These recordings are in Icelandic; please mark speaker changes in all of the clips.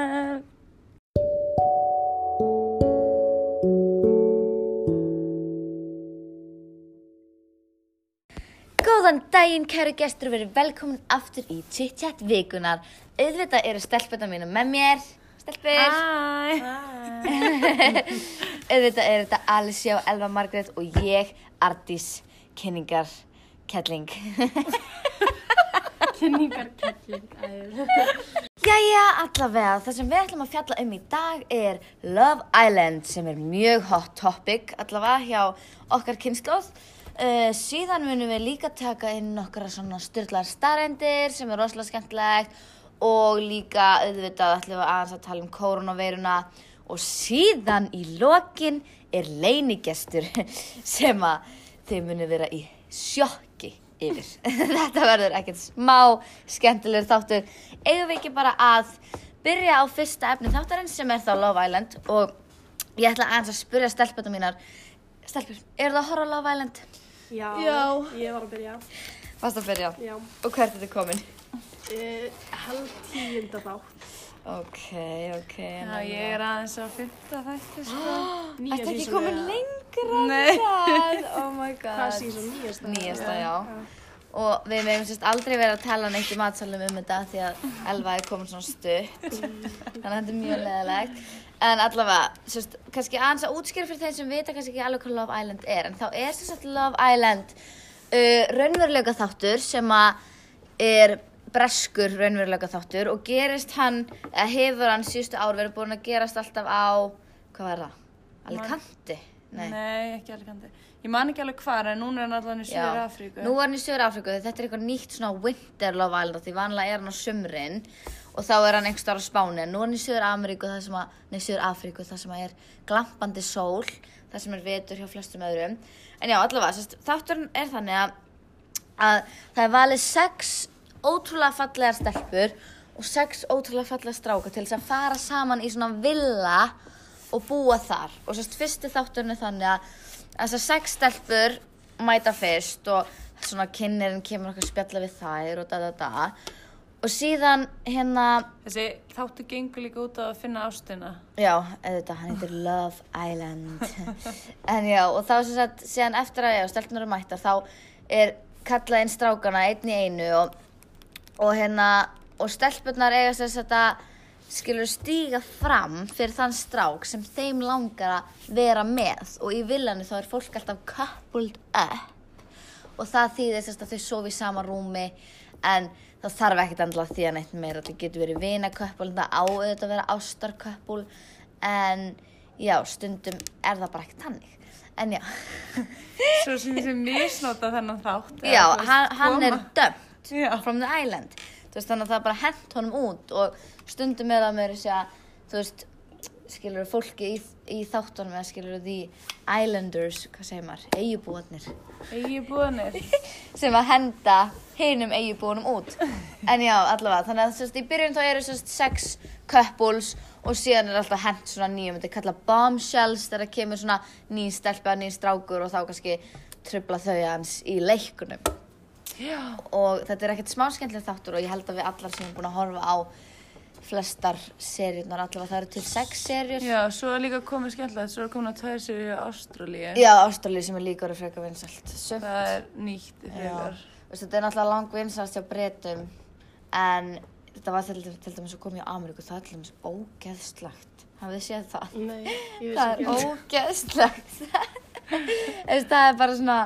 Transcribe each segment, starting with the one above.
Speaker 1: vikunar. Góðan daginn, kæru gestur, og verið velkomin aftur í Chit Chat vikunar. Auðvitað eru stelpunna mínu með mér. Stelpur!
Speaker 2: Hæ!
Speaker 1: Auðvitað er þetta Alicia og Elva Margrét og ég, Ardís, kynningar, kettling.
Speaker 2: Kynningarkelling
Speaker 1: Jæja, allavega, það sem við ætlum að fjalla um í dag er Love Island sem er mjög hot topic allavega hjá okkar kynnslóð. Uh, síðan munum við líka taka inn okkar svona styrlar starendir sem er rosalega skemmtilegt og líka auðvitað ætlum við aðeins að tala um koronaveiruna og síðan í lokin er leinigestur sem að þeir munu vera í sjokki yfir. Þetta verður ekkert smá skemmtilegur þáttur. Eigum við ekki bara að byrja á fyrsta efni þáttarins sem er þá Love Island og ég ætla aðeins að spyrja stelpunum mínar. Stelpur, eru það að horfa á Love Island?
Speaker 2: Já,
Speaker 3: Já.
Speaker 1: Oh.
Speaker 2: ég var að byrja
Speaker 1: Fast að byrja.
Speaker 2: Já,
Speaker 1: Og hvert er þetta komin?
Speaker 2: uh, held tíunda þátt
Speaker 1: Ok, ok.
Speaker 3: Já, ég er aðeins á fyrta þætti, sko.
Speaker 2: Nýja
Speaker 1: Þetta ekki
Speaker 2: season
Speaker 1: komin
Speaker 2: eða-
Speaker 1: lengra
Speaker 3: Nei.
Speaker 1: það? Oh my god.
Speaker 2: Hvað síðan nýjasta?
Speaker 1: Nýjasta, já. Og við meðum sérst aldrei vera að tala neitt í matsalum um þetta því að Elva er komin svona stutt. Þannig að þetta er mjög leðilegt. En allavega, sérst, kannski aðeins að útskýra fyrir þeim sem vita kannski ekki alveg hvað Love Island er. En þá er sérst Love Island uh, raunveruleika þáttur sem að er breskur raunveruleika þáttur og gerist hann, eða hefur hann síðustu ár verið búin að gerast alltaf á, hvað var það? Alicante?
Speaker 3: Nei. ekki Alicante. Ég man ekki alveg hvar, en núna er hann allan í
Speaker 1: Já.
Speaker 3: Suður Afríku.
Speaker 1: Nú er hann í Suður Afríku, þetta er eitthvað nýtt svona winter love island því vanlega er hann á sumrin og þá er hann einhvers staðar á Spáni en nú er hann í Suður Ameríku það sem að, nei Suður Afríku það sem að er glampandi sól það sem er vetur hjá flestum öðrum en já allavega, sérst, þátturinn er þannig að að það er valið sex ótrúlega fallega stelpur og sex ótrúlega fallega stráka til þess að fara saman í svona villa og búa þar og sérst fyrsti þátturinn er þannig að þessar sex stelpur mæta fyrst og svona kynnerinn kemur okkar að spjalla við þær og da da da og síðan hérna
Speaker 3: Þessi þáttu gengur líka út á að finna ástina.
Speaker 1: Já, auðvitað, hann heitir Love Island. en já, og þá sem sagt, síðan eftir að já, stelpunar eru mættar, þá er kallað inn strákana einn í einu og, og hérna, og stelpunar eiga sem sagt að skilur stíga fram fyrir þann strák sem þeim langar að vera með og í villanu þá er fólk alltaf coupled up og það þýðir sérst að þau sofi í sama rúmi en það þarf ekkert endla að þýða neitt meira það getur verið vinaköppul það á auðvitað að vera ástarköppul en já, stundum er það bara ekkert hannig en já,
Speaker 3: Svo sem þessi misnota þennan þátt. eða
Speaker 1: já
Speaker 3: þú veist,
Speaker 1: hann, hann er
Speaker 3: koma.
Speaker 1: dömt
Speaker 3: Já.
Speaker 1: from the island Þú veist, þannig að það er bara hent honum út og stundum er það meira sér að þú veist, skilur fólki í, í þáttunum eða skilur því islanders, hvað segir maður, eigubúarnir
Speaker 3: Eigi búinir.
Speaker 1: sem að henda hinum eigibúinum út. En já, allavega, þannig að sérst, í byrjun þá eru sérst sex couples og síðan er alltaf hent svona nýjum, þetta er kallað bombshells þegar það kemur svona ný stelpa, ný strákur og þá kannski trubla þau hans í leikunum.
Speaker 3: Já.
Speaker 1: Og þetta er ekkert smá skemmtileg þáttur og ég held að við allar sem erum búin að horfa á flestar serjurnar, allavega það eru til sex serjur.
Speaker 3: Já, svo er líka komið skemmtilegt, svo er komin að tæða sér í Ástralíu.
Speaker 1: Já, Ástralíu sem er líka orðið frekar vinsælt. Sumt
Speaker 3: Það er nýtt í
Speaker 1: Já,
Speaker 3: þegar.
Speaker 1: Veist, þetta er náttúrulega lang vinsast hjá breytum en þetta var til, til dæmis að koma í Ameríku, það er til dæmis ógeðslagt. Hafið þið séð það?
Speaker 2: Nei, ég veist
Speaker 1: Það er
Speaker 2: ekki
Speaker 1: ógeðslagt. Þess, það er bara svona,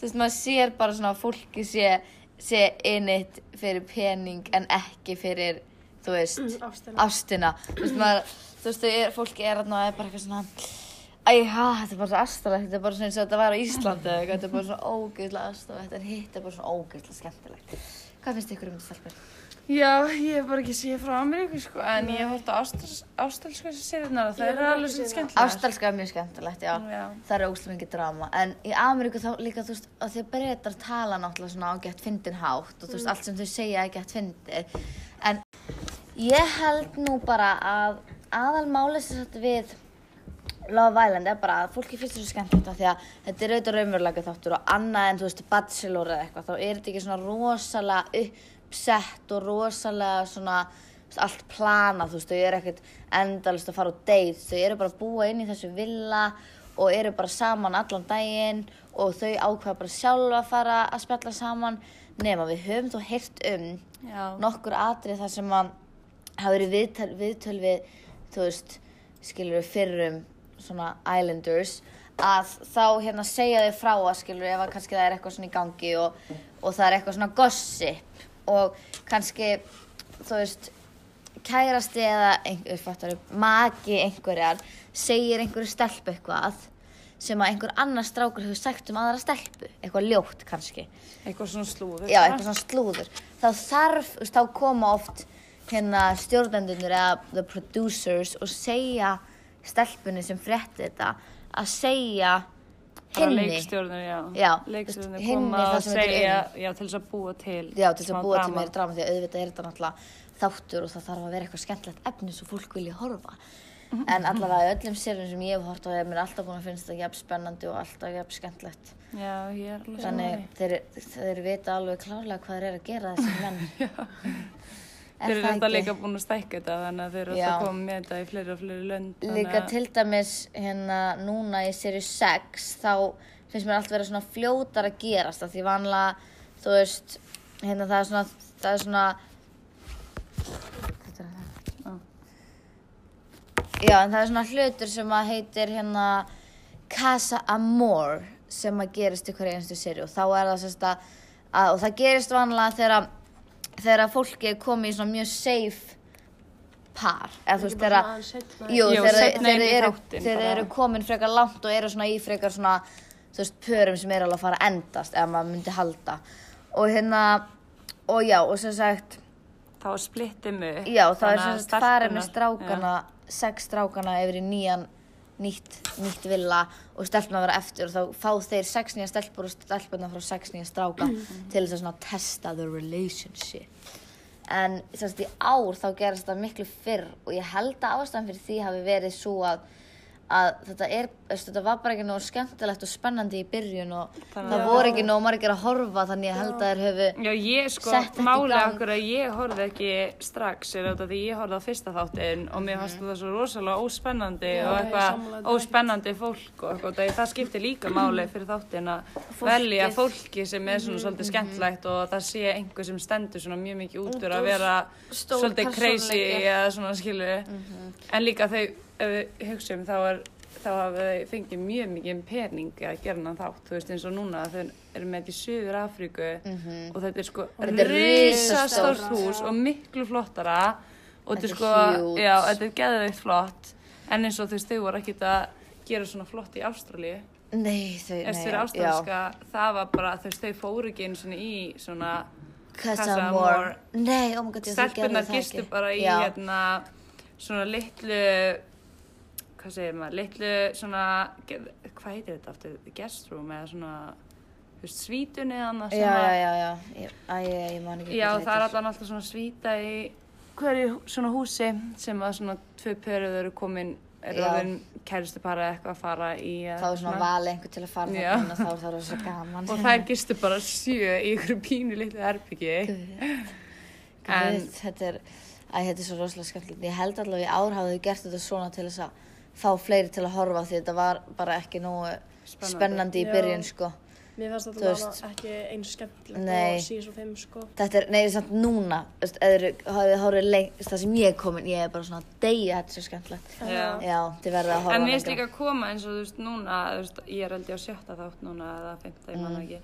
Speaker 1: þú veist, maður sér bara svona að fólki sé, sé innitt fyrir pening en ekki fyrir, þú veist,
Speaker 2: Ástæðan
Speaker 1: ástina þú veist, maður, þú veist, þau er, fólki er þarna og er bara eitthvað svona æ, ha, þetta er bara svo astralegt, þetta er bara svona eins og þetta væri á Íslandi eða eitthvað, þetta er bara svona ógeðslega astralegt en hitt er bara svona ógeðslega skemmtilegt hvað finnst ykkur um þetta stelpur?
Speaker 3: Já, ég hef bara ekki séð frá Ameríku sko, en ég hef hórt á ástralsku sérðunar og það
Speaker 2: Ég
Speaker 3: eru
Speaker 2: hef
Speaker 3: alveg
Speaker 2: ekki
Speaker 3: svolítið
Speaker 2: séð
Speaker 3: skemmtilega.
Speaker 1: Ástralska er mjög skemmtilegt, já
Speaker 3: Já.
Speaker 1: það er ógeðslega mikið drama en í Ameríku þá líka, þú veist, að því að breytar tala náttúrulega svona á gett fyndin hátt og þú veist, allt sem þau segja er gett fyndið en ég held nú bara að aðal málið sem sagt við Love Island er bara að fólki finnst þessu skemmtilegt af því að þetta er auðvitað raunverulega þáttur og annað en þú veist Bachelor eða eitthvað þá er þetta ekki svona rosalega uppsett og rosalega svona þú veist, allt planað, þú veist, þau eru ekkert endalist að fara á date, þau eru bara að búa inn í þessu villa og eru bara saman allan daginn og þau ákveða bara sjálfa að fara að spjalla saman nema við höfum þó heyrt um
Speaker 3: Já.
Speaker 1: nokkur atrið þar sem að hafa verið viðtöl, viðtöl við þú veist, skilur við fyrrum svona islanders að þá hérna segja þau frá að skilur ef að kannski það er eitthvað svona í gangi og, og það er eitthvað svona gossip og kannski þú veist kærasti eða einhver fattar maki einhverjar segir einhverju stelpu eitthvað sem að einhver annar strákur hefur sagt um aðra stelpu eitthvað ljótt kannski
Speaker 3: Eitthvað svona slúður.
Speaker 1: já, eitthvað svona slúður þá þarf, þú veist, þá koma oft hérna stjórnendunir eða the producers og segja stelpunni sem frétti þetta að segja
Speaker 3: Bara
Speaker 1: henni
Speaker 3: leikstjórnir, já.
Speaker 1: Já,
Speaker 3: Leikstjórnir
Speaker 1: þú veist, hinni
Speaker 3: koma
Speaker 1: það
Speaker 3: og
Speaker 1: sem þetta er
Speaker 3: segja, já, til þess að búa til.
Speaker 1: já, til þess
Speaker 3: smá
Speaker 1: að búa til
Speaker 3: drama.
Speaker 1: meira drama því að auðvitað er þetta náttúrulega þáttur og það þarf að vera eitthvað skemmtilegt efni svo fólk vilja horfa
Speaker 3: Mhm.
Speaker 1: en allavega í öllum sérum sem ég hef hort á er mér alltaf búin að finnst þetta jafn spennandi og alltaf jafn skemmtilegt
Speaker 3: Já, ég er alveg
Speaker 1: þannig þeir, þeir vita alveg klárlega hvað þeir eru að gera þessum menn Er
Speaker 3: Þeir eru
Speaker 1: það
Speaker 3: þetta
Speaker 1: ekki?
Speaker 3: líka búin að stækka þetta þannig að þeir eru
Speaker 1: Já.
Speaker 3: alltaf komið með þetta í fleiri og fleiri lönd. þannig
Speaker 1: Líka
Speaker 3: að-
Speaker 1: til dæmis hérna núna í seri 6 þá finnst mér allt vera svona fljótar að gerast af því vanlega þú veist hérna það er svona það er svona Þetta er það.
Speaker 3: Já.
Speaker 1: Já en það er svona hlutur sem að heitir hérna Casa Amor sem að gerist í hverju einstu seri og þá er það sérst að, að og það gerist vanlega þegar þegar fólki er komið í svona mjög safe par eða þú veist þegar Jú,
Speaker 3: Jú,
Speaker 1: þegar þeir,
Speaker 3: seinna
Speaker 1: þeir,
Speaker 3: inn í
Speaker 1: eru,
Speaker 3: þáttinn
Speaker 1: þeir
Speaker 3: bara.
Speaker 1: eru komin frekar langt og eru svona í frekar svona, þú veist, pörum sem eru alveg að fara að endast, ef maður myndi halda. Og hérna, og já, og sem sagt,
Speaker 3: Þá er splittum upp.
Speaker 1: já, það er
Speaker 3: þannig að
Speaker 1: sem sagt farið með
Speaker 3: stelpurnar-
Speaker 1: strákana, sex strákana yfir í nýjan, nýtt, nýtt villa og stelpna vera eftir og þá fá þeir sex nýja stelpur og stelpuna frá sex nýja stráka til þess að svona testa the relationship. En sem sagt, í ár þá gerast þetta miklu fyrr og ég held að ástæðan fyrir því hafi verið svo að, að þetta, er, veist, þetta var bara ekki nóg skemmtilegt og spennandi í byrjun og
Speaker 3: Þannig
Speaker 1: það
Speaker 3: að-
Speaker 1: voru ekki nóg margir að horfa þannig ég held að þeir höfu...
Speaker 3: Já, ég sko,
Speaker 1: Sett þetta í
Speaker 3: málega
Speaker 1: gang.
Speaker 3: okkur að ég horfði ekki strax er þetta því ég horfði á fyrsta þáttinn og mér fannst þetta svo rosalega óspennandi
Speaker 2: Já,
Speaker 3: og
Speaker 2: ég sammála
Speaker 3: eitthvað
Speaker 2: því.
Speaker 3: óspennandi fólk og eitthvað, það- það skiptir líka máli fyrir þáttinn að velja fólki sem er svona svolítið skemmtlegt og að það sé einhver sem stendur svona mjög mikið út úr að vera
Speaker 4: stór
Speaker 3: svolítið crazy
Speaker 4: persónuleiki.
Speaker 3: eða svona skilu en líka þau, ef við hugsaum þá er þá hafa þau fengið mjög mikið pening að gera hann þátt, þú veist eins og núna þau eru með þetta í Suður Afríku og þetta er sko
Speaker 1: Þetta er
Speaker 3: risastórt
Speaker 1: risastórt.
Speaker 3: hús og miklu flottara og þetta
Speaker 1: Þetta
Speaker 3: er
Speaker 1: er
Speaker 3: sko,
Speaker 1: huge.
Speaker 3: já, þetta er geðveikt flott en eins og þú veist, þau voru ekkert að gera svona flott í Ástralíu
Speaker 1: Nei, þau...
Speaker 3: eða
Speaker 1: nei,
Speaker 3: þau eru
Speaker 1: já.
Speaker 3: ástralíska, það var bara þú veist, þau fóru ekki einu svona í svona
Speaker 1: Casa
Speaker 3: Casa
Speaker 1: Amor
Speaker 3: Amor.
Speaker 1: Nei, oh my god, já, þau gerðu
Speaker 3: stelpunar
Speaker 1: það
Speaker 3: gistu
Speaker 1: ekki.
Speaker 3: bara í
Speaker 1: Já.
Speaker 3: hérna svona litlu hvað segir maður, litlu svona ge- hvað heitir þetta aftur, guest room eða svona, þú veist, svítunni annars
Speaker 1: Já, já, já, já, ég, æ, ég, ég man ekki
Speaker 3: Já,
Speaker 1: hvað
Speaker 3: það er
Speaker 1: heitir.
Speaker 3: allan alltaf svona svíta í hverju svona húsi sem að svona tvö pöruð eru komin eru
Speaker 1: Já.
Speaker 3: orðin kæristu para eitthvað að fara í eða
Speaker 1: Þá er svona valið einhver til að fara
Speaker 3: Já.
Speaker 1: þarna inn og þá er það rosa gaman
Speaker 3: og þær gistu bara sjö í ykkur pínu litlu herbyggi
Speaker 1: en...
Speaker 3: en
Speaker 1: þetta, er, æ, þetta er svo rosalega skemmtilegt Ég held allavega í ár hafði þau gert þetta svona til þess að fá fleiri til að horfa því þetta var bara ekki nógu spennandi, í
Speaker 3: Spennandi.
Speaker 2: Já.
Speaker 1: byrjun sko
Speaker 2: Mér fannst
Speaker 1: Þú
Speaker 2: þetta
Speaker 1: veist.
Speaker 2: bara ekki eins skemmtilegt
Speaker 1: Nei.
Speaker 2: og season 5 sko.
Speaker 1: Þetta er, nei, samt núna, þú veist, eða hafið horfið lengst, það sem ég er komin, ég er bara svona að deyja, þetta er svo skemmtilegt.
Speaker 3: Já.
Speaker 1: Já, þið verðið að horfa
Speaker 3: en mér finnst
Speaker 1: lengra.
Speaker 3: líka að koma eins og þú veist núna þú veist, ég er aldrei á sjötta þátt núna eða fymta, ég
Speaker 1: Mm.
Speaker 3: manna ekki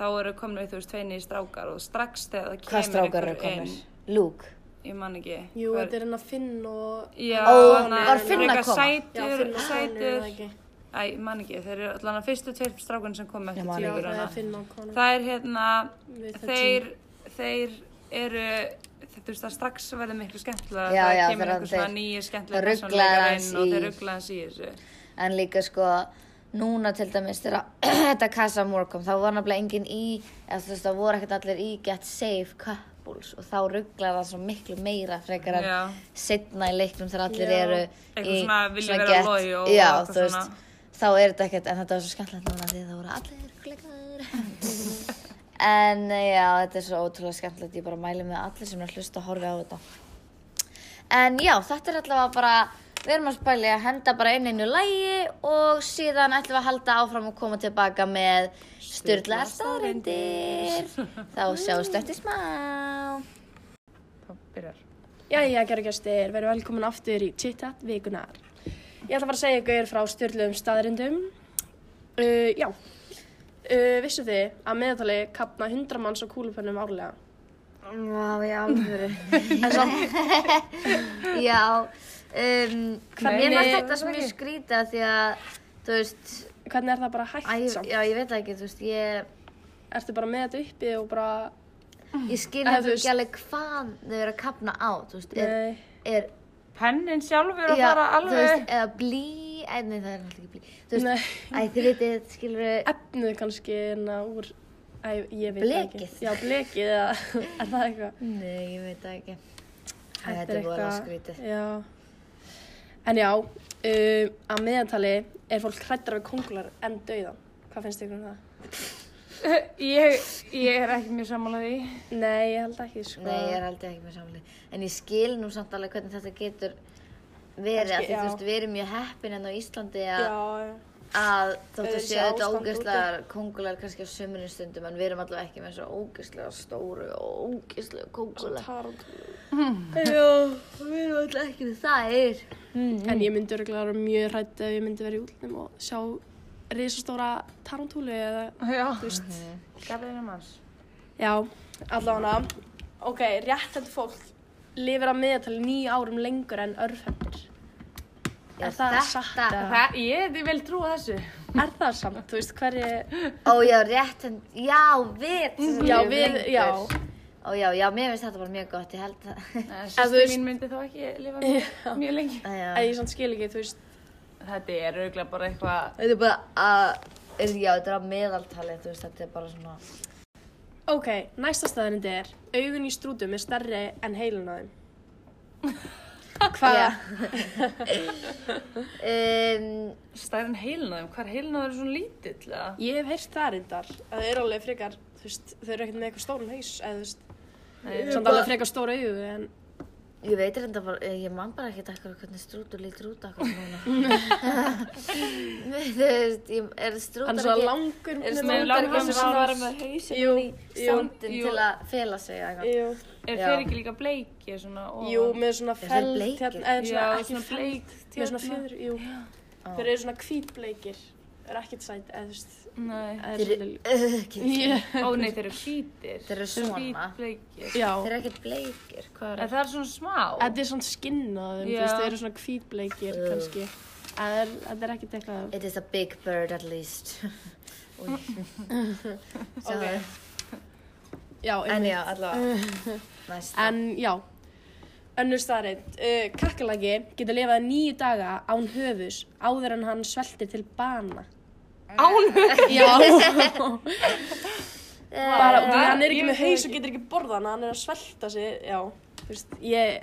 Speaker 3: þá eru komin þú veist tveinir strákar og strax þegar það
Speaker 1: Hvað
Speaker 3: kemur
Speaker 1: strákar eru
Speaker 3: einhver
Speaker 1: komin?
Speaker 3: inn
Speaker 1: Luke?
Speaker 3: ég man ekki
Speaker 2: Jú,
Speaker 3: Hver-
Speaker 2: þetta er henn að Finn og...
Speaker 3: Já,
Speaker 1: Ó,
Speaker 3: hann er
Speaker 1: var Finn að
Speaker 3: frekar
Speaker 1: koma?
Speaker 2: Já,
Speaker 3: Sætur,
Speaker 2: Finn og Sætur er
Speaker 3: sætur
Speaker 2: það ekki.
Speaker 3: Æ, ég man ekki, þeir eru allan að fyrstu tveir strákun sem kom
Speaker 1: Ég
Speaker 3: eftir
Speaker 1: man ekki.
Speaker 2: Já, það
Speaker 3: tígurana.
Speaker 2: er Finn og konan.
Speaker 3: Það er hérna,
Speaker 2: Við það
Speaker 3: þeir, þeir eru, þú veist það strax verður miklu skemmtilega,
Speaker 1: Já,
Speaker 3: það
Speaker 1: já,
Speaker 3: kemur
Speaker 1: þegar
Speaker 3: einhver svona
Speaker 1: þeir-
Speaker 3: nýju
Speaker 1: það
Speaker 3: skemmtilega
Speaker 1: ruglaði
Speaker 3: persónuleikar
Speaker 1: aðeins
Speaker 3: inn og þeir
Speaker 1: í-
Speaker 3: ruggla hans í þessu.
Speaker 1: En líka sko, núna til dæmis þegar þetta Casa Amor kom, þá var nefnilega enginn í, eða þú veist, það voru ekkert allir í Get Safe Couples og þá rugglar það svo miklu meira frekar en
Speaker 3: Já.
Speaker 1: setna í leiknum þegar allir
Speaker 2: Já.
Speaker 1: eru
Speaker 3: Eitthvað svona vilja vera loyal og
Speaker 1: Já,
Speaker 3: eitthvað
Speaker 1: þú veist,
Speaker 3: svona.
Speaker 1: þá er þetta ekkert, en þetta var svo skemmtilegt núna því það voru allir rugglegaður. En eh, já, þetta er svo ótrúlega skemmtilegt, ég bara mæli með allir sem er að hlusta að horfa á þetta. En já, þetta er allavega bara, við erum að spæli að henda bara inn einu lægi og síðan ætlum við að halda áfram og koma tilbaka með styrla staðrindir. Þá sjáumst eftir smá.
Speaker 3: Þá byrjar.
Speaker 2: Jæja, kæru gæstir, verið velkomin aftur í Chittat vikunar. Ég ætla bara að segja ykkur frá styrluðum staðrindum. Uh, já, uh, vissu þið að meðatali kapna 100 manns á kúlupönnum árlega?
Speaker 1: Vá, já, alvöru. já, um,
Speaker 3: Hvernig-
Speaker 1: mér var þetta svo mjög skrýta því að, þú veist,
Speaker 2: Hvernig er það bara hægt
Speaker 1: að ég,
Speaker 2: samt?
Speaker 1: já, ég veit það ekki, þú veist, ég,
Speaker 2: Ertu bara með þetta uppi og bara...
Speaker 1: ég skil
Speaker 2: Eða, þú
Speaker 1: þetta
Speaker 2: veist-
Speaker 1: ekki alveg hvað þau eru að kapna á, þú veist, er,
Speaker 2: Nei.
Speaker 1: er,
Speaker 3: Pennin sjálfur að
Speaker 1: já,
Speaker 3: fara
Speaker 1: þú
Speaker 3: alveg.
Speaker 1: veist, eða blí, eða, nei, það er alltaf ekki blí, þú veist,
Speaker 2: Nei.
Speaker 1: æ, þið vitið, skilur
Speaker 2: Efnið kannski en að úr... Æ, ég veit það ekki.
Speaker 1: Blekið.
Speaker 2: Já, blekið eða... er það eitthvað?
Speaker 1: nei, ég veit það ekki, Æ, þetta er voru skrítið,
Speaker 2: Já. En já, uh, að meðatali er fólk hrættar við kongular en dauðan. Hvað finnst ykkur um það?
Speaker 3: Ég, ég er ekki mjög samanlega því.
Speaker 2: Nei, ég held ekki, sko.
Speaker 1: nei, ég er aldrei ekki með samlið, en ég skil nú samt alveg hvernig þetta getur verið, af því,
Speaker 2: Kannski,
Speaker 1: þú
Speaker 2: já.
Speaker 1: veist, við erum mjög heppin en á Íslandi að,
Speaker 2: Já, já.
Speaker 1: að þóttu
Speaker 2: Öðruvísi
Speaker 1: séu þetta
Speaker 2: ástand
Speaker 1: ógeðslegar kongulegar kannski á sömurinn stundum en við erum allavega ekki með svo ógeðslega stóru og ógeðslega kongulegar
Speaker 2: Tarantúlur.
Speaker 1: Já, við erum allavega ekki með þær
Speaker 2: Mm-hmm. En ég myndi örgulega vera mjög hrætt ef ég myndi vera í útlunum og sjá risastóra tarantúlu eða,
Speaker 3: Já.
Speaker 2: þú veist,
Speaker 1: Mhm.
Speaker 3: Garðinu manns.
Speaker 2: já, allavega hana. Ok, réttandi fólk lifir að meðatali nýja árum lengur en örfendir.
Speaker 1: Já,
Speaker 2: Er það
Speaker 1: þetta-
Speaker 2: satt eða?
Speaker 3: Það, ég vil trúa þessu.
Speaker 2: Er það samt, þú veist, hverju,
Speaker 1: Ó já, rétt en, já, við sem
Speaker 2: já,
Speaker 1: erum
Speaker 2: við,
Speaker 1: lengur.
Speaker 2: já,
Speaker 1: Ó já, já, mér finnst þetta bara mjög gott, ég held að
Speaker 2: þú
Speaker 3: Sýstu
Speaker 2: veist-
Speaker 3: mín myndi þá ekki lifa mjög, mjög lengi.
Speaker 1: Æ, já.
Speaker 2: að ég samt skil ekki, þú veist,
Speaker 3: Þetta er auðvitað bara eitthvað,
Speaker 1: Þetta er bara að, er- já, þetta er á meðaltali, þú veist, þetta er bara svona
Speaker 2: ok, næsta staðarindi er, augun í strútum er stærri en heilun á þeim. Hvað?
Speaker 1: um,
Speaker 3: stærn heilnaðum, hvar heilnaður er svona lítill eða?
Speaker 2: Ég hef heyrt það reyndar að þau eru alveg frekar, þú veist, þau eru ekkert með eitthvað stóran haus, eða þú veist, samt alveg frekar stóra auðu, en
Speaker 1: Ég veit reynda bara, eh, ég man bara ekkert akkur hvernig strútur lítur út akkur núna. Þú veist, ég er strútur
Speaker 2: hann er svona langur
Speaker 1: Er
Speaker 2: með
Speaker 1: svona
Speaker 3: Með
Speaker 1: langur
Speaker 2: langan
Speaker 1: ekki
Speaker 3: langan
Speaker 1: svona
Speaker 3: háls.
Speaker 1: vera með hausinn
Speaker 2: Jú,
Speaker 1: inn í
Speaker 2: jú,
Speaker 1: sandin
Speaker 3: jú.
Speaker 1: til að fela sig eða eitthvað.
Speaker 2: Jú,
Speaker 3: Er
Speaker 1: Já.
Speaker 3: þeir ekki líka bleiki svona ofan?
Speaker 2: jú, með svona
Speaker 1: þeir
Speaker 2: feld,
Speaker 1: bleikir?
Speaker 2: hérna, eða svona,
Speaker 3: Já,
Speaker 2: ekki
Speaker 3: svona
Speaker 2: feld,
Speaker 3: bleikt
Speaker 2: með svona
Speaker 3: hérna.
Speaker 2: fjöður, jú.
Speaker 1: Á.
Speaker 2: Þeir eru svona hvítbleikir, þeir eru ekkert sæt, eða þú veist,
Speaker 3: Nei.
Speaker 2: eða
Speaker 1: Þeir eru
Speaker 2: svolítið-
Speaker 1: öðgir.
Speaker 2: Ég-
Speaker 3: Ó nei, þeir eru hvítir.
Speaker 1: Þeir eru svona.
Speaker 3: Hvítbleikir.
Speaker 2: Já,
Speaker 1: Þeir eru ekkert bleikir, hvað
Speaker 3: En
Speaker 1: er það?
Speaker 3: það er svona smá.
Speaker 2: þetta er svona skinnaðum, þú
Speaker 3: Já.
Speaker 2: veist, þeir eru svona hvítbleikir kannski, En það er- þetta er ekkert eitthvað,
Speaker 1: It is a big bird at least. Új. Sjá
Speaker 2: Ok.
Speaker 1: það.
Speaker 2: já,
Speaker 1: En
Speaker 2: einmitt.
Speaker 1: já, allavega. Næsta.
Speaker 2: En já, önnur staðreitt. Uh, kakkalaki getur lifað nýju daga án höfus áður en hann sveltir til bana. Án höfus? Já. Bara,
Speaker 1: Eh,
Speaker 2: uh, hann er
Speaker 3: ég
Speaker 2: ekki
Speaker 3: veit
Speaker 2: með
Speaker 3: það
Speaker 2: haus og
Speaker 3: ekki.
Speaker 2: getur ekki borðað hann, hann er að svelta sig, já. Þú veist, ég,
Speaker 3: Ég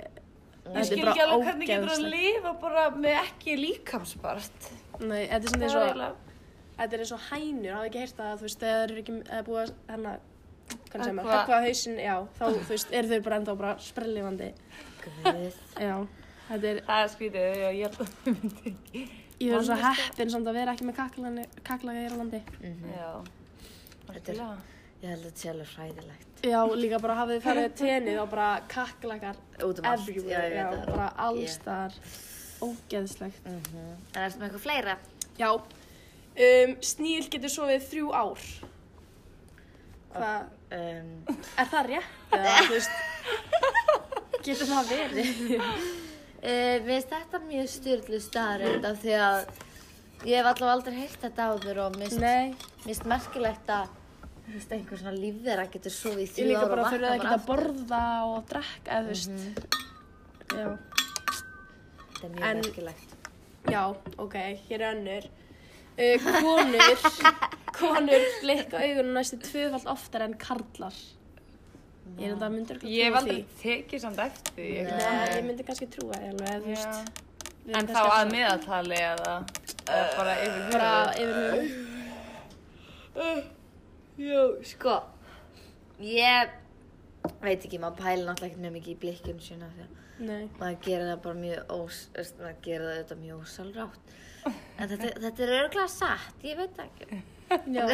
Speaker 2: þetta
Speaker 3: skil
Speaker 2: er
Speaker 3: ekki
Speaker 2: bara
Speaker 3: alveg hvernig getur að
Speaker 2: ógeðslegt.
Speaker 3: lifa bara með ekki líkamspart.
Speaker 2: Nei, þetta er svona eins
Speaker 3: Það er
Speaker 2: og,
Speaker 3: eiginlega-
Speaker 2: þetta er eins og hænur, hafa ekki heyrt það, þú veist, þegar þeir eru ekki, eða búið að, hérna, hvernig sem er,
Speaker 3: Höggva-
Speaker 2: höggva hausinn, já, þá, þú veist, eru þau bara enda bara sprellifandi,
Speaker 1: Guð.
Speaker 2: já. Þetta er,
Speaker 3: Það er skrítið, já, ég held að það myndi ekki.
Speaker 2: ég er svo heppin samt að vera ekki með kakkalaka hér á landi.
Speaker 3: Já.
Speaker 1: Þetta er- Ég held að þetta sé alveg hræðilegt.
Speaker 2: Já, líka bara hafið þið farið tenni þá bara kakklakar
Speaker 1: Út um allt.
Speaker 2: everywhere,
Speaker 1: Já,
Speaker 2: já,
Speaker 1: ég veit það.
Speaker 2: bara
Speaker 1: Ég-
Speaker 2: alls þar, ógeðslegt.
Speaker 1: En ertu með eitthvað fleira?
Speaker 2: Já, um, sníl getur sofið þrjú ár. Hvað,
Speaker 1: Um,
Speaker 2: er það rétt? Eða, þú veist, getur það verið?
Speaker 1: Uh, mér finnst þetta mjög styrlu staðrænd af því að ég hef allavega aldrei heyrt þetta áður og mér finnst- mér
Speaker 2: Nei,
Speaker 1: finnst merkilegt að þú veist, einhver svona lífverða getur sofið í
Speaker 2: ég
Speaker 1: þrjú
Speaker 2: líka
Speaker 1: ára
Speaker 2: bara
Speaker 1: og
Speaker 2: fyrir að
Speaker 1: vakna
Speaker 2: geta
Speaker 1: bara Mhm.
Speaker 2: að borða og að drekka, eða þú veist. Já.
Speaker 1: aftur. Þetta er mjög
Speaker 2: en-
Speaker 1: merkilegt.
Speaker 2: Já, ok, hér er önnur. Uh, konur, konur blikka augunum næstu tvöfald oftar en karlar. Ég er þetta myndur
Speaker 3: Ég hef aldrei tekið samt eftir því. ég-
Speaker 2: Nei, ég myndi kannski trúa því alveg, eða þú
Speaker 3: Já.
Speaker 2: veist. við erum
Speaker 3: En þá
Speaker 2: kannski
Speaker 3: að
Speaker 2: alltaf
Speaker 3: meðaltali eða, eða bara yfir
Speaker 2: Bara
Speaker 3: höfuð?
Speaker 2: yfir höfuð.
Speaker 1: Jú, sko, ég veit ekki, maður pæla náttúrulega ekki mjög mikið í blikkinu sína þegar
Speaker 2: Nei.
Speaker 1: maður gera það bara mjög ós, veist, maður gera það auðvitað mjög ósalrátt en þetta, þetta er örgulega satt, ég veit það ekki
Speaker 2: Já.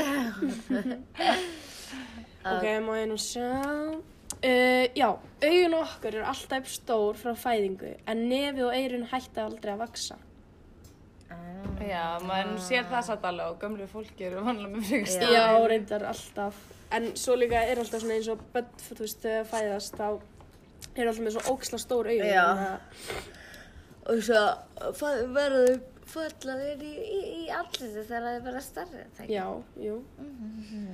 Speaker 2: ok, má ég nú sjá. Uh, já, augun okkur eru alltaf jafn stór frá fæðingu en nefið og eirun hætta aldrei að vaksa.
Speaker 1: Ah,
Speaker 3: Já, maður sér það satt alveg og gömlu fólki eru vanlega með frekar
Speaker 1: Já.
Speaker 2: Já,
Speaker 3: stór.
Speaker 2: reyndar alltaf. En svo líka er alltaf svona eins og börn, þú veist, þegar þau fæðast þá eru alltaf með svo óksla stór augun.
Speaker 1: Já.
Speaker 2: þannig að-
Speaker 1: og svo verður fallaðir í, í, í allir þegar það er bara starri
Speaker 2: Já, jú.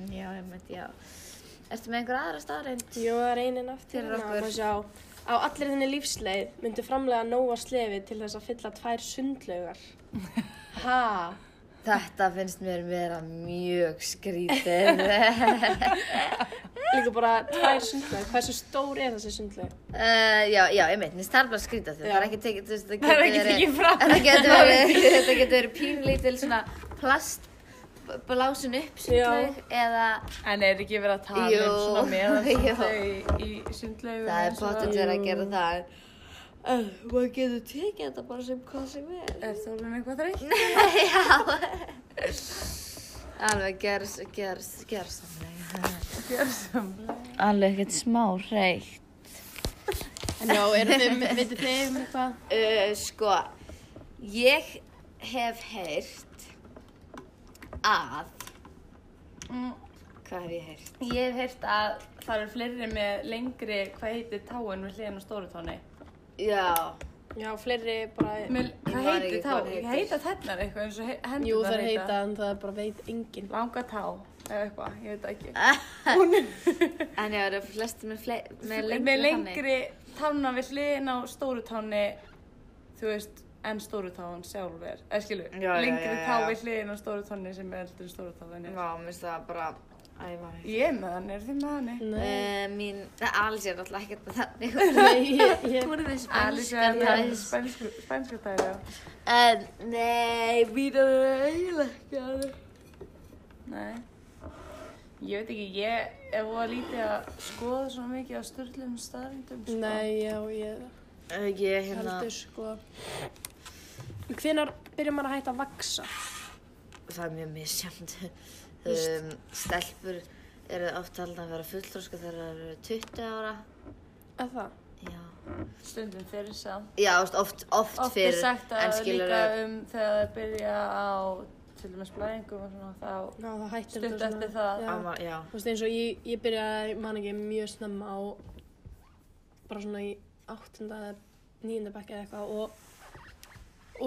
Speaker 1: já, ég meint, já Ertu með einhver aðra staðreind?
Speaker 2: Jú, það er einin aftur.
Speaker 1: Fyrir
Speaker 2: hérna,
Speaker 1: okkur.
Speaker 2: má sjá. Á allir þinni lífsleið myndu framlega nóa slefi til þess að fylla tvær sundlaugar. Ha?
Speaker 1: Þetta finnst mér vera mjög skrítið.
Speaker 2: Líka bara tvær sundlaug. Hversu stór er þessi sundlaug?
Speaker 1: Uh, já, já, ég meint, það er bara skrítið því
Speaker 2: Já.
Speaker 1: það er ekki tekið, þú veist, það
Speaker 3: Það er
Speaker 1: getur
Speaker 3: ekki
Speaker 1: verið-
Speaker 3: tekið fram.
Speaker 1: Það getur verið, þetta getur verið pínlítil svona plast blásin upp sundlaug eða
Speaker 3: En er ekki verið að tala
Speaker 1: Jú.
Speaker 3: um svona meðan
Speaker 1: Jú.
Speaker 3: sundlaug í sundlaugur?
Speaker 1: það er pottet verið að gera það. Uh, maður getur tekið þetta bara sem hvað sem er.
Speaker 3: Er það alveg eitthvað þreytt?
Speaker 1: já. Alveg gerðs, gerðs, gerðsamlega.
Speaker 3: Gjörsum.
Speaker 1: Alveg ekkert smá reitt.
Speaker 2: En já, eru þið, veitir þið um eitthvað?
Speaker 1: Uh, sko, ég hef heyrt að,
Speaker 3: Mm.
Speaker 1: hvað hef ég heyrt?
Speaker 3: Ég hef heyrt að það eru fleiri með lengri, hvað heitir táin við hliðin á stóru tóni?
Speaker 1: Já,
Speaker 2: Já, fleiri bara...
Speaker 3: Með,
Speaker 1: Ég
Speaker 3: hvað
Speaker 1: man
Speaker 3: heitir
Speaker 1: ekki
Speaker 3: tá?
Speaker 1: hvað heitir.
Speaker 3: Heita tennar eitthvað eins og he- hendurnar
Speaker 2: Jú, það er heita, en það er bara veit enginn.
Speaker 3: Langa tá, eða eitthvað, ég veit það ekki.
Speaker 1: en já, það eru flestir með, fle með lengri
Speaker 3: með lengri tána við hliðin á stóru táni þú veist, en stóru tán sjálf er, eða skilur,
Speaker 1: Já, já,
Speaker 3: lengri
Speaker 1: já, já.
Speaker 3: tá við hliðin á stóru táni sem er eldur en stóru táni
Speaker 1: Já, mér finnst það bara, æ, ég var ekki.
Speaker 3: ég er með hann, er þið með hann?
Speaker 2: Nei,
Speaker 1: Uh, mín, Alice er náttúrulega ekkert með þannig.
Speaker 2: nei, ég... ég
Speaker 1: Hún er með
Speaker 3: Alice
Speaker 1: spænska
Speaker 3: er það
Speaker 1: tæs.
Speaker 3: spænsku, spænsku tæri já.
Speaker 1: En, Eh, nei, mín er eiginlega ekki alveg.
Speaker 3: nei ég veit ekki, ég er voða lítið að skoða svona mikið á störlum staðrindum sko.
Speaker 2: Nei, já, ég
Speaker 1: Uh, Ég, hérna,
Speaker 2: heldur, sko. Hvenar byrjar maður að hætta að vaksa?
Speaker 1: það er mjög misjönd.
Speaker 2: Víst.
Speaker 1: Um, stelpur eru oft talað að vera fulltróska þegar það eru 20 ára.
Speaker 2: Að það?
Speaker 1: Já,
Speaker 3: stundum fyrir samt
Speaker 1: Já oft, oft, oft,
Speaker 3: oft
Speaker 1: fyrir.
Speaker 3: er sagt
Speaker 1: en
Speaker 3: að
Speaker 1: skilurðu-
Speaker 3: líka um þegar það byrja á til dæmis blæðingum og svona þá
Speaker 2: Já, það hættir
Speaker 3: Stutt
Speaker 2: þetta
Speaker 3: eftir það.
Speaker 2: Já.
Speaker 1: Amma, já.
Speaker 2: Þú veist, eins og ég, ég byrjaði, man ekki, mjög snemma á bara svona í áttunda eða níunda bekk eða eitthvað og,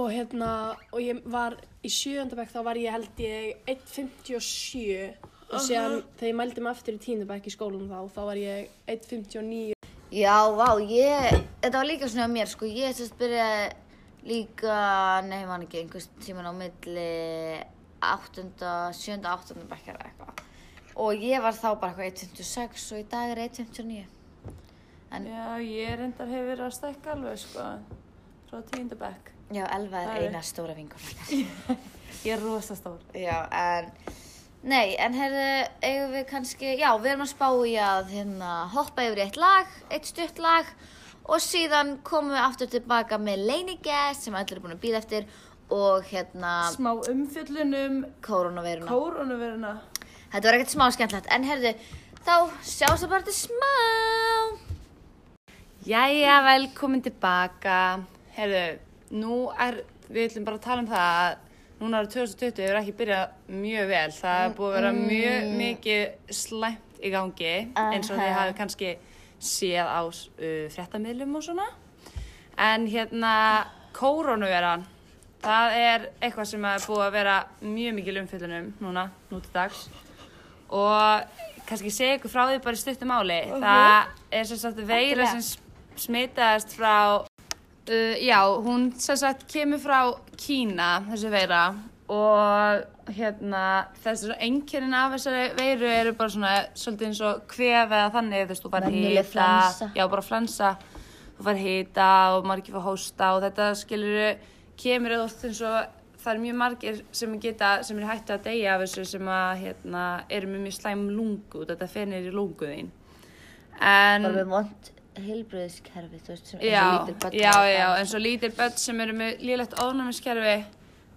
Speaker 2: og hérna, og ég var í sjöunda bekk þá var ég held ég 1.57 og síðan þegar ég mældi mig aftur í tíunda bekk í skólanum þá, þá var ég 1.59
Speaker 1: Já, vá, ég, þetta var líka svona á mér, sko, ég sérst byrjaði líka, nei, ég man ekki, einhvers tíman á milli 8. 7. 8. bekkar eða eitthvað. Og ég var þá bara eitthvað 1.56 og í dag er 1.59. En-
Speaker 3: Já, ég reyndar hefur verið að stækka alveg, sko, frá tíundu bekk.
Speaker 1: Já, Elva
Speaker 3: Það
Speaker 1: er
Speaker 3: er-
Speaker 1: eina stóra vingur.
Speaker 3: Ég er rosa stór.
Speaker 1: Já, en, nei, en herðu, eigum við kannski, já, við erum að spá í að hérna hoppa yfir í eitt lag, eitt stutt lag og síðan komum við aftur tilbaka með leiningest sem allir er búin að býða eftir og hérna...
Speaker 3: Smá umfjöllunum,
Speaker 1: koronaveiruna.
Speaker 3: kórónuveruna.
Speaker 1: Þetta var ekkert smá skemmtilegt, en herðu, þá sjáum við bara til smá.
Speaker 3: Jæja, velkomin tilbaka. Herðu, nú er, við ætlum bara að tala um það að núna eru 2020 hefur ekki byrjað mjög vel. Það er búið að vera mjög mikið slæmt í gangi, eins og þið
Speaker 1: Aha.
Speaker 3: hafið kannski séð á uh, fréttamiðlum og svona. En hérna, kórónuveran, það er eitthvað sem er búið að vera mjög mikil umfyllunum núna, nú til dags. Og kannski segja ykkur frá því bara í stuttum máli. Það er sem sagt veira sem s- smitaðist frá, uh, já, hún sem sagt kemur frá Kína, þessi veira. Og hérna, þessi einkerinn af þessari veiru eru bara svona svolítið eins og kvef eða þannig, þú veist, þú bara
Speaker 1: Venjuleg
Speaker 3: hita-
Speaker 1: flensa.
Speaker 3: já bara flensa þú fær hita og margir fær hósta og þetta skilur kemur eða oft eins og það er mjög margir sem geta, sem er hættu að deyja af þessu sem að hérna, eru með mjög slæm lungu og þetta fennir í lungu þín en
Speaker 1: Bara með vond heilbröðiskerfi, þú veist, sem eins og
Speaker 3: já,
Speaker 1: lítil börn
Speaker 3: já,
Speaker 1: hafa.
Speaker 3: já, eins og lítil börn sem eru með lélegt ofnæmiskerfi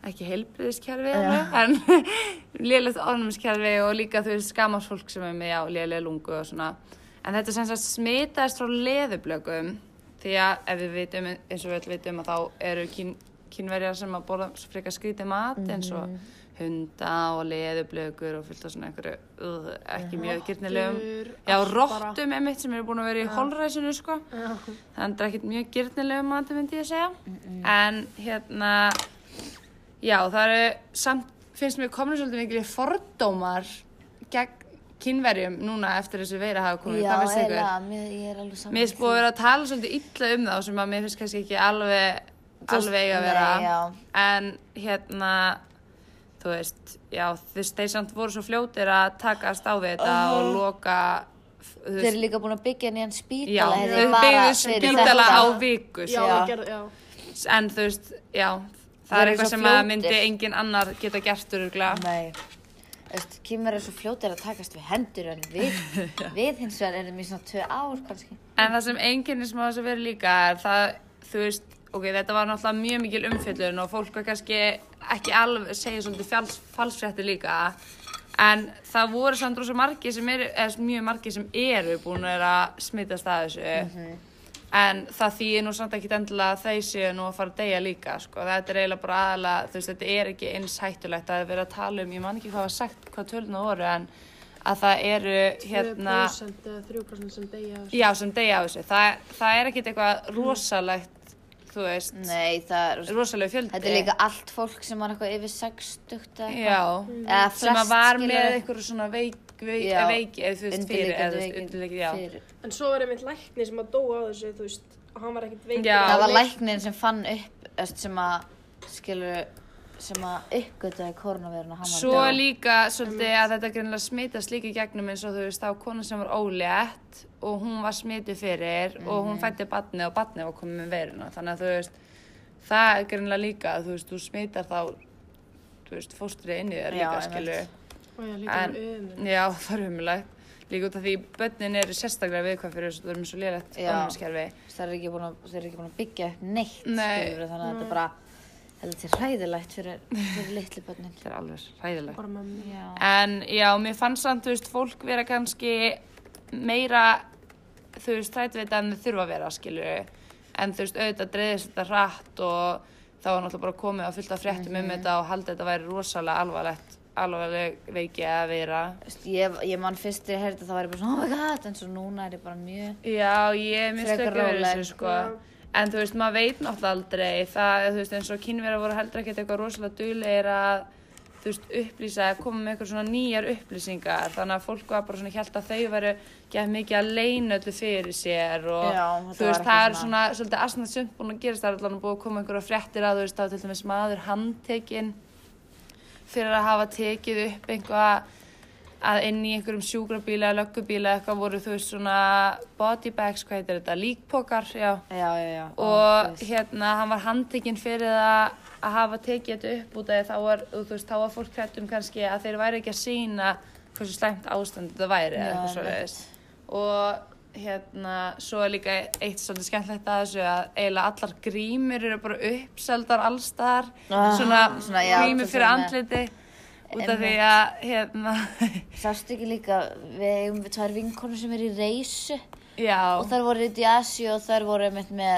Speaker 3: ekki heilbriðiskerfi en lélegt ofnæmiskerfi og líka þú veist skamarsfólk sem er með já, lélega lungu og svona en þetta sem sagt smitaðist frá leðublökum því að ef við vitum eins og við öll vitum að þá eru kín, kínverjar sem að borða frekar skrítið mat eins
Speaker 1: Mhm.
Speaker 3: og hunda og leðublökur og fyllt á svona einhverju uh, ekki mjög gyrnilegum
Speaker 2: Rottur,
Speaker 3: já,
Speaker 2: allt bara.
Speaker 3: rottum einmitt sem eru búin að vera í holræsinu sko þannig er ekkert mjög gyrnilegu mati myndi ég að segja en hérna já það eru samt finnst mér komin svolítið mikil fordómar gegn kynverjum núna eftir þessu veira hafa komið
Speaker 1: Já,
Speaker 3: hvað finnst ykkur?
Speaker 1: eiginlega, mér- ég er alveg saman.
Speaker 3: Mér finnst búið að vera að tala svolítið illa um þá sem að mér finnst kannski ekki alveg
Speaker 1: Þú veist,
Speaker 3: alveg eiga að
Speaker 1: nei,
Speaker 3: vera
Speaker 1: já.
Speaker 3: en hérna þú veist, já, þú veist, þeir samt voru svo fljótir að takast á við þetta og loka þú
Speaker 1: Þeir eru líka búin að byggja nýjan
Speaker 3: Já,
Speaker 1: spítala, þetta er
Speaker 3: þau
Speaker 1: bara fyrir
Speaker 3: byggðu spítala á
Speaker 1: þetta.
Speaker 3: viku
Speaker 2: Já,
Speaker 3: sko.
Speaker 2: já. Gerð, já.
Speaker 3: En þú veist, já
Speaker 1: Þeir
Speaker 3: Það er
Speaker 1: eru
Speaker 3: eitthvað
Speaker 1: svo
Speaker 3: sem að
Speaker 1: fljótir.
Speaker 3: myndi engin annar geta gert öruglega
Speaker 1: Nei, veist, kýmur er svo fljótir að takast við hendur en við, við hins vegar erum í svona tvö ár kannski.
Speaker 3: En það sem enginn sem á þess að vera líka er það, þú veist, ok, þetta var náttúrulega mjög mikil umfjöllun og fólk var kannski ekki alveg, segja svolítið fjáls, falsfrétti líka en það voru samt rosa margir sem eru, eða mjög margir sem eru búin að vera að smitast að þessu en það þýðir nú samt ekki endilega að þeir séu nú að fara að deyja líka sko, þetta er eiginlega bara aðalega þú veist, þetta er ekki eins hættulegt að vera að tala um ég man ekki hvað var sagt, hvað töluna voru en að það eru hérna
Speaker 2: 2% eða 3% sem deyja og-
Speaker 3: Já, sem degi á þessu. Þa, það er ekkert eitthvað rosalegt, þú veist,
Speaker 1: Mm. Nei, það er,
Speaker 3: rosaleg fjöldi.
Speaker 1: þetta er líka allt fólk sem var eitthvað yfir 60 eða eitthvað.
Speaker 3: Já,
Speaker 1: Eða flest
Speaker 3: Mm. sem að var
Speaker 1: skilurðu.
Speaker 3: með einhverju svona veik, veik,
Speaker 1: Já,
Speaker 3: veiki, eða þú veist, fyrir, eða þú veist, undirleikið, já.
Speaker 1: Fyrir.
Speaker 2: En svo var einmitt lækni sem að dóa á þessu, þú veist, og hann var ekkert veikur.
Speaker 3: Já.
Speaker 1: Það var
Speaker 2: Nei.
Speaker 1: læknin sem fann upp, öst, sem að, skilur, sem að uppgötaði koronaviruna. hann var að
Speaker 3: Svo
Speaker 1: dó.
Speaker 3: líka svolítið
Speaker 1: Mm.
Speaker 3: að þetta greinilega smitast líka í gegnum eins og þú veist, það var kona sem var ólétt og hún var smitið fyrir og
Speaker 1: Mhm.
Speaker 3: hún fætti batni og batni var komið með veruna. Þannig að þú veist, það er greinilega líka, þú veist, þú smitar þá, þú veist, fóstrið inn í þér
Speaker 1: Já,
Speaker 3: líka,
Speaker 1: einmitt.
Speaker 3: skilu.
Speaker 2: Og já, líka
Speaker 3: En-
Speaker 2: um ömur.
Speaker 3: Já, það er umulagt. Líka út af því börnin eru sérstaklega viðkvæm fyrir þessu, það er mjög svo lélegt
Speaker 1: Já.
Speaker 3: ofniskerfi.
Speaker 1: Það er ekki búin að, þeir eru ekki búin að byggja upp neitt,
Speaker 3: Nei.
Speaker 1: skilur, þannig að þetta er bara, þetta er hræðilegt fyrir, fyrir litlu börnin.
Speaker 3: Það er alveg hræðilegt.
Speaker 2: Bara mamma.
Speaker 3: Mm.
Speaker 1: Já.
Speaker 3: En já, mér fannst samt, þú veist, fólk vera kannski meira, þú veist, þrætvita en þau þurfa að vera, skilur. En þú veist, auðvitað dreifist þetta hratt og það var náttúrulega bara komið á fullt af fréttum um þetta og haldið að þetta væri rosalega alvarlegt, alvarleg veiki að vera.
Speaker 1: Veist, Ég, ég man fyrst þegar ég heyrði það, þá var ég bara svona, oh my god, en svo núna er ég bara mjög...
Speaker 3: Já, ég minnst
Speaker 1: Frekar
Speaker 3: ekki verið
Speaker 1: róleg.
Speaker 3: þessu sko. En þú veist, maður veit náttúrulega aldrei. Það, þú veist, eins og kynverðar voru heldur ekkert eitthvað rosalega duglegir að, þú veist, upplýsa, að koma með eitthvað svona nýjar upplýsingar. Þannig að fólk var bara svona hjælt að þau veru gett mikið að leina öllu fyrir sér og,
Speaker 1: Já, þetta
Speaker 3: þú
Speaker 1: var
Speaker 3: veist,
Speaker 1: eitthvað
Speaker 3: það er
Speaker 1: svona-
Speaker 3: svona, svolítið asnað sumt búin að gerast. Það er allan búið að koma einhverja fréttir að, þú veist, þá til dæmis maður handtekinn fyrir að hafa tekið upp einhvað að inn í einhverjum sjúkrabíla, löggubíla eitthvað voru þú veist svona body bags, hvað heitir þetta, líkpokar, já.
Speaker 1: Já, já, já. ó,
Speaker 3: Og
Speaker 1: guð.
Speaker 3: hérna, hann var handtekinn fyrir það að hafa tekið þetta upp út af því þá var, þú veist, þá var fólk hrættum kannski að þeir væri ekki að sína hversu slæmt ástand þetta væri eða
Speaker 1: Já,
Speaker 3: eitthvað
Speaker 1: einmitt.
Speaker 3: svoleiðis. Og hérna, svo er líka eitt svolítið skemmtlegt að þessu að eiginlega allar grímur eru bara uppseldar allstar,
Speaker 1: Ah,
Speaker 3: svona,
Speaker 1: svona, já,
Speaker 3: grímur
Speaker 1: þú
Speaker 3: fyrir
Speaker 1: svona-
Speaker 3: andliti út af því að, hérna,
Speaker 1: Sástu ekki líka, við eigum við tvær vinkonur sem er í reysu
Speaker 3: já.
Speaker 1: og þær voru út í Asi og þær voru einmitt með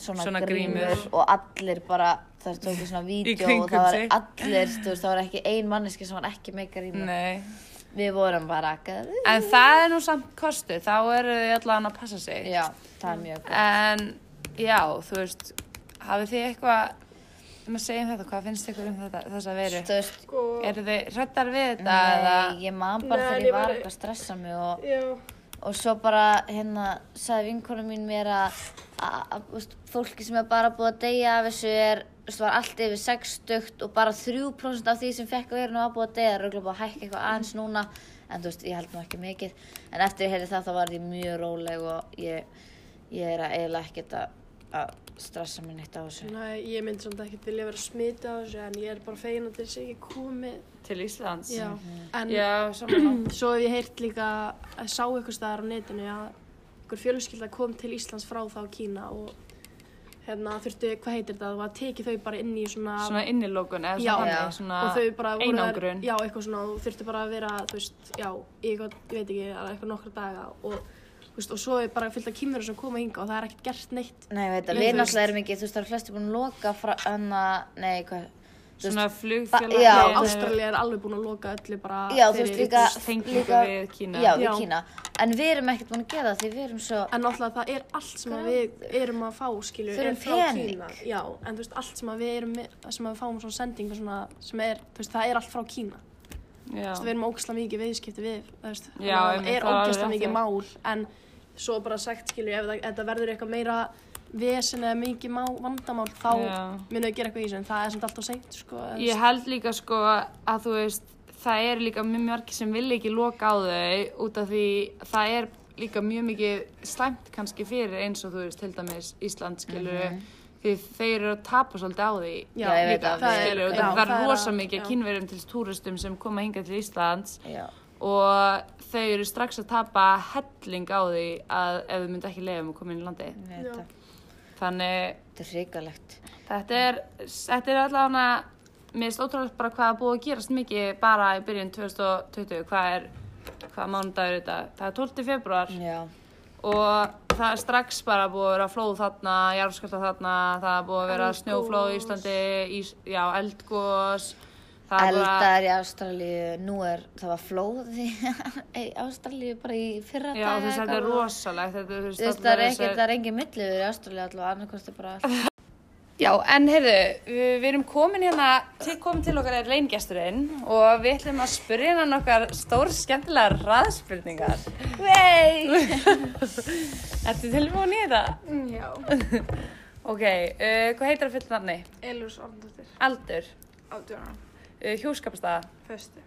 Speaker 1: svona,
Speaker 3: Svona
Speaker 1: grímur,
Speaker 3: grímur.
Speaker 1: og allir bara, þær tóku svona vídeo og
Speaker 3: kringum
Speaker 1: það var
Speaker 3: sig.
Speaker 1: allir, þú veist, það var ekki ein manneski sem var ekki með grímur.
Speaker 3: Nei,
Speaker 1: Við vorum bara, gæði.
Speaker 3: en það er nú samt kostu, þá eru þið allan að passa sig.
Speaker 1: Já, það er mjög góð.
Speaker 3: En já, þú veist, hafið þið eitthvað, maður segja um þetta, hvað finnst ykkur um þetta, þessa veru?
Speaker 1: Þú veist,
Speaker 2: Sko,
Speaker 3: Eru þið hrættar við þetta?
Speaker 1: nei, ég man bara
Speaker 2: Nei, en
Speaker 1: þegar
Speaker 2: ég
Speaker 1: ég var
Speaker 2: var-
Speaker 1: eitthvað að stressa mig og
Speaker 2: já,
Speaker 1: Og svo bara, hérna, sagði vinkona mín mér að, að, að þú veist, fólki sem er bara búið að deyja af þessu er, þú veist, var allt yfir sex stökt og bara 3% af því sem fekk veirinu var búið að deyja, röglega búið að hækka eitthvað aðeins núna, en þú veist, ég held nú ekki mikið, en eftir ég heyrði það þá var ég mjög róleg og ég, ég er að eiginlega ekkert að, að stressa mig neitt á þessu.
Speaker 2: næ, ég myndi samt ekki vilja vera smitið á þessu, en ég er bara fegin að þessi ekki komið.
Speaker 3: Til Íslands?
Speaker 2: Já, en
Speaker 3: Já, saman.
Speaker 2: svo hef ég heyrt líka, sá ykkur staðar á netinu að okkur fjölskylda kom til Íslands frá þá Kína og hérna þurfti, hvað heitir þetta, það var tekið þau bara inn í svona,
Speaker 3: Svona innilókun eða
Speaker 2: Já.
Speaker 3: svona,
Speaker 1: Já.
Speaker 3: þannig, svona
Speaker 2: og þau bara voru þar-
Speaker 3: einangrun.
Speaker 2: já, eitthvað svona, og þurfti bara að vera, þú veist, já, í eitthvað, ég veit ekki, alveg eitthvað nokkra daga og, þú veist, og svo er bara fyllt af kýmverður sem koma hinga og það er ekkert gert neitt
Speaker 1: Nei, ég veit það,
Speaker 2: Nei,
Speaker 1: við
Speaker 2: þú veist.
Speaker 1: náttúrulega erum ekki, þú veist, það er flesti búin að loka frá enna, nei, hvað, þú
Speaker 3: Svona
Speaker 1: Ba-
Speaker 3: flugfélag.
Speaker 1: já.
Speaker 2: Já, Ástralja er alveg búin að loka öllu bara
Speaker 1: já, þú veist
Speaker 2: fyrir-
Speaker 1: líka,
Speaker 3: tengingu
Speaker 1: líka,
Speaker 3: við Kína.
Speaker 1: Já, við
Speaker 2: Já.
Speaker 1: Kína, en við erum ekkert búin að gera það því við erum svo,
Speaker 2: En náttúrulega það er allt sem að við erum að fá, skilju,
Speaker 1: Þurfum
Speaker 2: er frá
Speaker 1: pening.
Speaker 2: Kína. Já, en þú veist, allt sem að við erum, með, sem að við fáum svona sendingu svona, sem er, þú veist, það er allt frá Kína. Þú
Speaker 3: Já.
Speaker 2: veist, við erum ógæslega mikið viðskipti við, þú veist,
Speaker 3: Já,
Speaker 2: þannig að
Speaker 3: einmitt,
Speaker 2: það er
Speaker 3: það er
Speaker 2: ógæslega
Speaker 3: rétt
Speaker 2: mikið
Speaker 3: hjá.
Speaker 2: mál, en svo bara sagt, skilju, ef það- þetta verður eitthvað meira vesen eða mikið má, vandamál, þá
Speaker 3: Já.
Speaker 2: munum við gera eitthvað í þessu, en það er samt alltaf seint, sko. þú
Speaker 3: Ég
Speaker 2: veist.
Speaker 3: held líka sko að þú veist, það er líka mjög mörgir sem vil ekki loka á þau út af því það er líka mjög mikið slæmt kannski fyrir eins og þú veist, til dæmis Ísland skilur því þeir eru að tapa svolítið á því
Speaker 1: Já, ég veit
Speaker 3: líka,
Speaker 1: það, það er-
Speaker 3: skilur, og
Speaker 1: já,
Speaker 3: það
Speaker 2: það
Speaker 3: verður
Speaker 2: er
Speaker 3: rosa
Speaker 2: að-
Speaker 3: mikið
Speaker 2: já.
Speaker 3: kynverjum til túristum sem koma hingað til Íslands
Speaker 1: já,
Speaker 3: og þau eru strax að tapa helling á því að ef þau myndu ekki leiðum að koma inn í landið.
Speaker 1: ég veit
Speaker 2: Já.
Speaker 1: það,
Speaker 3: Þannig
Speaker 1: þetta er hrikalegt.
Speaker 3: Þetta er, þetta er allavega, mér finnst ótrúlega bara hvað er búið að gerast mikið bara í byrjun 2020, hvað er, hvað mánudagur er þetta? Það er 12. februar
Speaker 1: Já,
Speaker 3: og það er strax bara búið að vera flóð þarna, jarðskjálta þarna, það er búið að vera
Speaker 2: Eldgos.
Speaker 3: snjóflóð í Íslandi, ís, já, eldgós, það er bara,
Speaker 1: eldar í Ástralíu, nú er, það var flóð í í Ástralíu bara í fyrra
Speaker 3: já, þú
Speaker 1: daga
Speaker 3: veist, þetta er
Speaker 1: eitthvað.
Speaker 3: rosalegt, þetta er, þú
Speaker 1: Þú veist, það er ekki, það er engin milliður í Ástralíu allavega, annarkvæmst er bara allt.
Speaker 3: Já, en heyrðu, við, við erum komin hérna, til komin til okkar er leingesturinn og við ætlum að spyrja hann okkar stór skemmtilega ræðspurningar.
Speaker 1: Vei!
Speaker 3: Ertu tilbúin í þetta?
Speaker 4: Já,
Speaker 3: Ok, uh, hvað heitir það fullt nafni?
Speaker 4: Elurs Orndóttir,
Speaker 3: Aldur,
Speaker 4: 18 ára,
Speaker 3: uh, hjúskapstaða,
Speaker 4: föstu,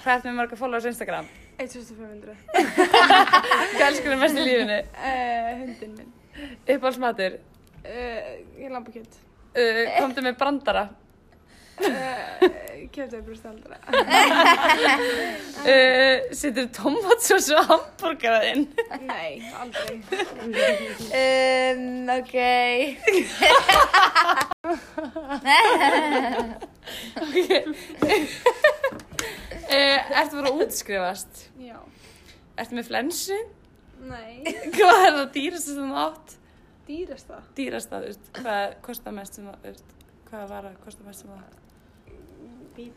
Speaker 3: hvað ertu með marga followers á Instagram?
Speaker 4: 1500,
Speaker 3: Hvað elskur þér mest í lífinu?
Speaker 4: uh, hundin minn,
Speaker 3: Uppáhaldsmatur,
Speaker 4: uh, ég lampa kjöt,
Speaker 3: uh, komdu með brandara,
Speaker 4: kjötaði brúst aldra,
Speaker 3: uh, setur tomatsós á hambúrgaraðinn.
Speaker 4: nei, aldrei.
Speaker 1: Um, ok.
Speaker 3: Uh, ertu bara að útskrifast?
Speaker 4: Já,
Speaker 3: Ertu með flensu?
Speaker 4: nei,
Speaker 3: Hvað er það dýrasta sem þú átt?
Speaker 4: dýrast það,
Speaker 3: Dýrasta, þú veist, hvað kostar mest sem þú átt? Hvað var að kosta mest sem þú átt?
Speaker 4: bíll,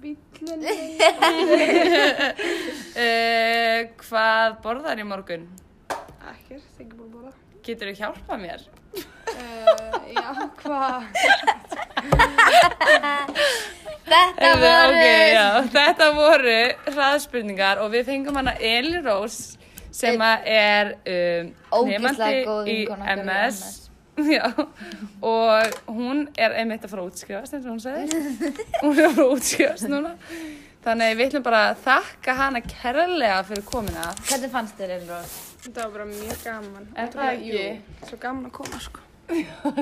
Speaker 4: bíllinn,
Speaker 3: Uh, hvað borðar í morgun?
Speaker 4: ekkert, ekki búin að bóla,
Speaker 3: Getur þú hjálpað mér?
Speaker 4: uh, já, hvað,
Speaker 1: Þetta
Speaker 3: Heyrðu,
Speaker 1: voru...
Speaker 3: ok, já, þetta voru hraðspurningar og við fengum hana Eli Rós sem að er um,
Speaker 1: Ógeðslega góð
Speaker 3: nefandi í
Speaker 1: vinkona okkar í
Speaker 3: MS Já, og hún er einmitt að fara að útskrifast eins og hún sagði hún er að fara að útskrifast núna þannig að við ætlum bara að þakka hana kærlega fyrir komina
Speaker 1: Hvernig fannst þér Elrós?
Speaker 4: þetta var bara mjög gaman,
Speaker 3: Er það
Speaker 4: Jú,
Speaker 3: ekki?
Speaker 4: svo gaman að koma, sko,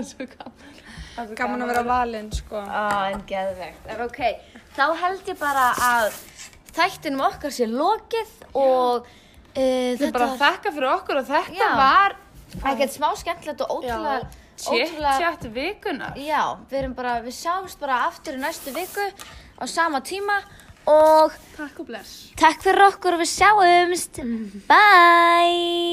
Speaker 3: Svo gaman.
Speaker 4: gaman að vera valinn, sko,
Speaker 1: Á, en geðvegt. En ok, þá held ég bara að þættinum okkar sé lokið og uh,
Speaker 3: Við ætlum
Speaker 1: þetta
Speaker 3: bara að þakka fyrir okkur og þetta
Speaker 1: Já.
Speaker 3: var
Speaker 1: var ekkert smá skemmtilegt og ótrúlega...
Speaker 3: chit
Speaker 1: ótrúlega-
Speaker 3: chat vikunar
Speaker 1: Já, við erum bara, við sjáumst bara aftur í næstu viku á sama tíma og
Speaker 4: takk og bless.
Speaker 1: takk fyrir okkur og við sjáumst. Bye!